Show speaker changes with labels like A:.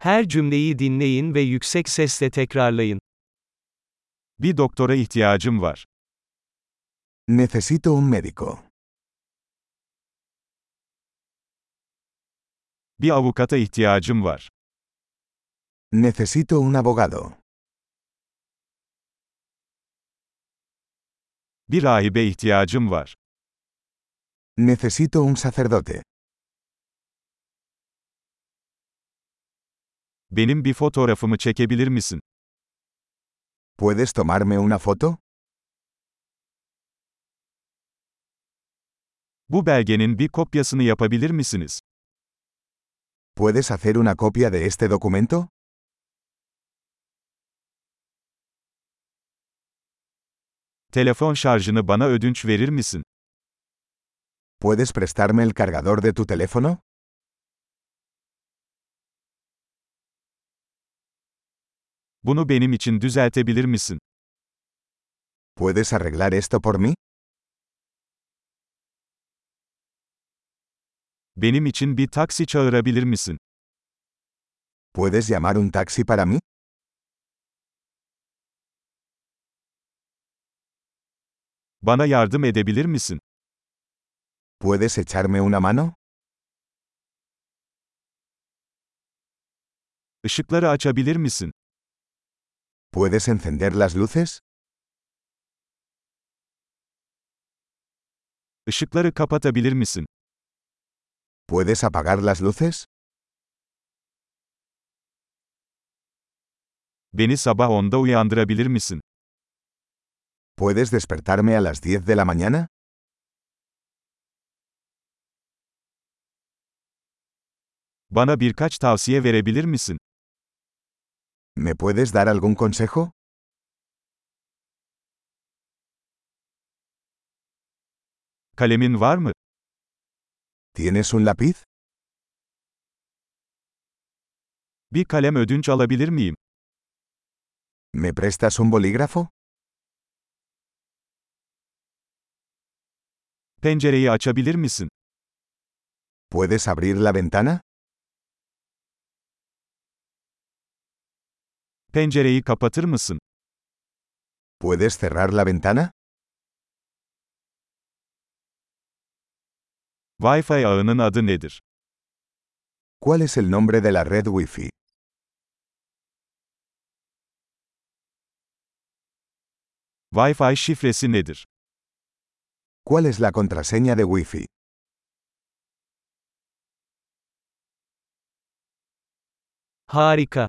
A: Her cümleyi dinleyin ve yüksek sesle tekrarlayın.
B: Bir doktora ihtiyacım var.
C: Necesito un médico.
B: Bir avukata ihtiyacım var.
C: Necesito un abogado.
B: Bir rahibe ihtiyacım var.
C: Necesito un sacerdote.
B: Benim bir fotoğrafımı çekebilir misin?
C: ¿Puedes tomarme una foto?
B: Bu belgenin bir kopyasını yapabilir misiniz?
C: ¿Puedes hacer una copia de este documento?
B: Telefon şarjını bana ödünç verir misin?
C: ¿Puedes prestarme el cargador de tu teléfono?
B: Bunu benim için düzeltebilir misin?
C: ¿Puedes arreglar esto por mí?
B: Benim için bir taksi çağırabilir misin?
C: ¿Puedes llamar un taxi para mí?
B: Bana yardım edebilir misin?
C: ¿Puedes echarme una mano?
B: Işıkları açabilir misin?
C: ¿Puedes encender las luces?
B: Işıkları kapatabilir misin?
C: ¿Puedes apagar las luces?
B: Beni sabah 10'da uyandırabilir misin?
C: ¿Puedes despertarme a las 10 de la mañana?
B: Bana birkaç tavsiye verebilir misin?
C: ¿Me puedes dar algún consejo?
B: Kalemin var mı?
C: ¿Tienes un lápiz?
B: Bir kalem ödünç alabilir miyim?
C: ¿Me prestas un bolígrafo?
B: Pencereyi açabilir misin?
C: ¿Puedes abrir la ventana?
B: Pencereyi kapatır mısın?
C: ¿Puedes cerrar la ventana?
B: Wi-Fi ağının adı nedir?
C: ¿Cuál es el nombre de la red Wi-Fi?
B: Wi-Fi şifresi nedir?
C: ¿Cuál es la contraseña de Wi-Fi?
A: Harika.